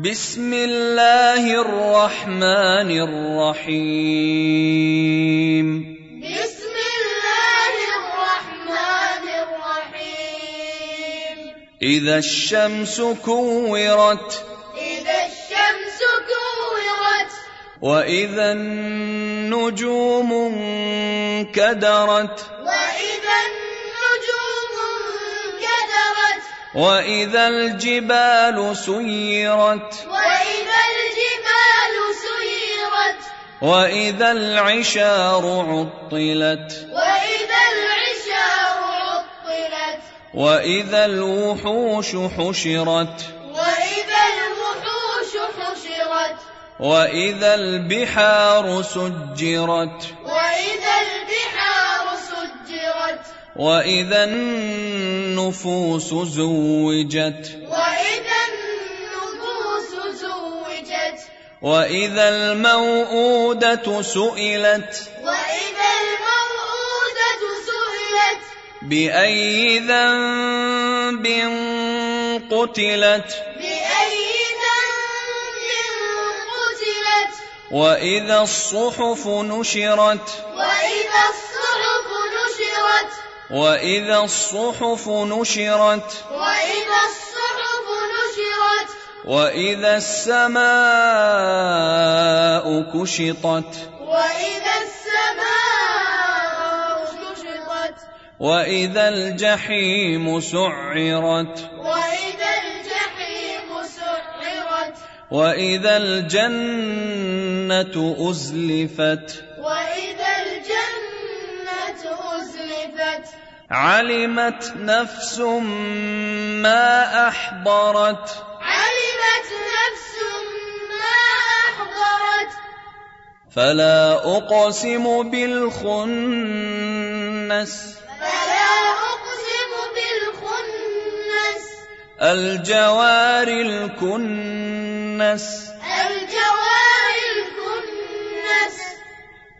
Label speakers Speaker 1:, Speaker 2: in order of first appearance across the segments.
Speaker 1: بسم الله الرحمن الرحيم
Speaker 2: بسم الله الرحمن الرحيم
Speaker 1: إذا الشمس كورت
Speaker 2: إذا الشمس كورت
Speaker 1: وإذا النجوم انكدرت
Speaker 2: وإذا النجوم انكدرت
Speaker 1: وإذا الجبال سيرت
Speaker 2: وإذا الجبال سيرت
Speaker 1: وإذا العشار عطلت
Speaker 2: وإذا العشار عطلت
Speaker 1: وإذا الوحوش حشرت
Speaker 2: وإذا الوحوش حشرت
Speaker 1: وإذا البحار سجرت
Speaker 2: وإذا البحار سجرت
Speaker 1: وإذا النفوس زوجت
Speaker 2: وإذا النفوس زوجت
Speaker 1: وإذا الموءودة سئلت
Speaker 2: وإذا الموءودة سئلت
Speaker 1: بأي ذنب قتلت
Speaker 2: بأي ذنب قتلت
Speaker 1: وإذا الصحف نشرت
Speaker 2: وإذا الصحف نشرت
Speaker 1: وإذا الصحف نشرت
Speaker 2: وإذا الصحف نشرت
Speaker 1: وإذا السماء كشطت
Speaker 2: وإذا السماء كشطت
Speaker 1: وإذا الجحيم سعرت
Speaker 2: وإذا الجحيم سعرت
Speaker 1: وإذا الجنة أزلفت
Speaker 2: وإذا الجنة أزلفت
Speaker 1: علمت نفس ما أحضرت
Speaker 2: علمت نفس ما أحضرت
Speaker 1: فلا أقسم بالخنس
Speaker 2: فلا أقسم بالخنس
Speaker 1: الجوار الكنس
Speaker 2: الجوار الكنس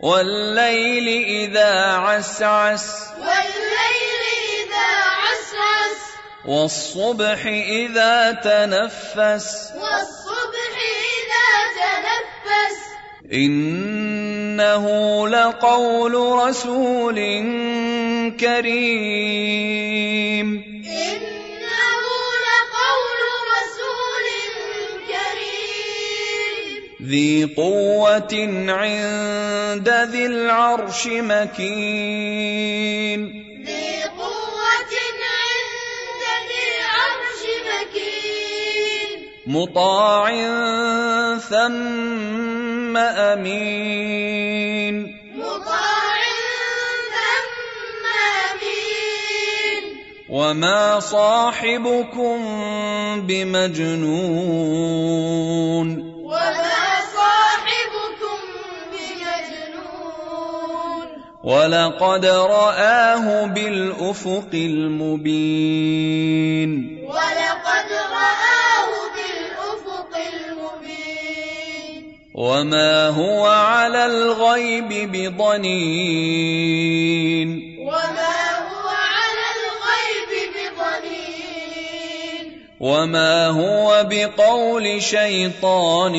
Speaker 1: والليل إذا عسعس
Speaker 2: والليل إذا عسعس
Speaker 1: والصبح إذا تنفس
Speaker 2: والصبح إذا تنفس
Speaker 1: إنه لقول رسول كريم
Speaker 2: إنه لقول رسول كريم
Speaker 1: ذي قوة عند ذي العرش مكين
Speaker 2: ذي قوة عند ذي العرش مكين
Speaker 1: مطاع ثم أمين
Speaker 2: مطاع ثم أمين
Speaker 1: وما صاحبكم بمجنون
Speaker 2: وما صاحبكم بمجنون
Speaker 1: ولقد رآه بالأفق المبين
Speaker 2: ولقد رآه بالأفق المبين
Speaker 1: وما هو على الغيب بضنين
Speaker 2: وما هو على الغيب بضنين
Speaker 1: وما هو بقول شيطان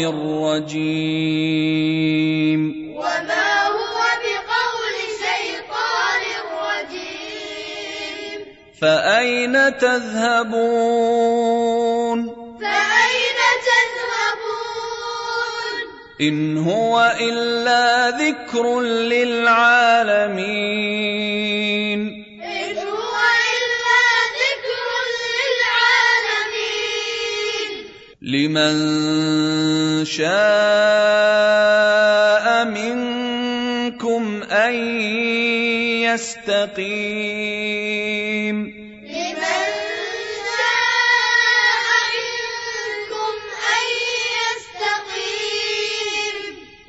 Speaker 1: رجيم
Speaker 2: وما هو بقول شيطان رجيم
Speaker 1: فأين تذهبون
Speaker 2: فأين تذهبون
Speaker 1: إن هو إلا ذكر للعالمين
Speaker 2: إن هو إلا ذكر للعالمين
Speaker 1: لمن شاء منكم أن يستقيم
Speaker 2: لمن شاء منكم أن يستقيم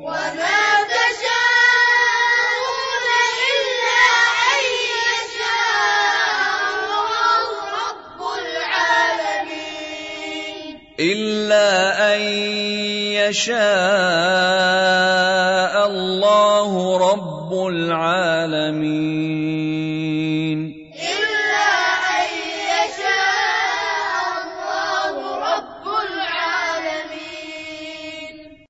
Speaker 2: وما تشاءون إلا أن يشاء الله رب العالمين
Speaker 1: إلا أن يشاء الله رب العالمين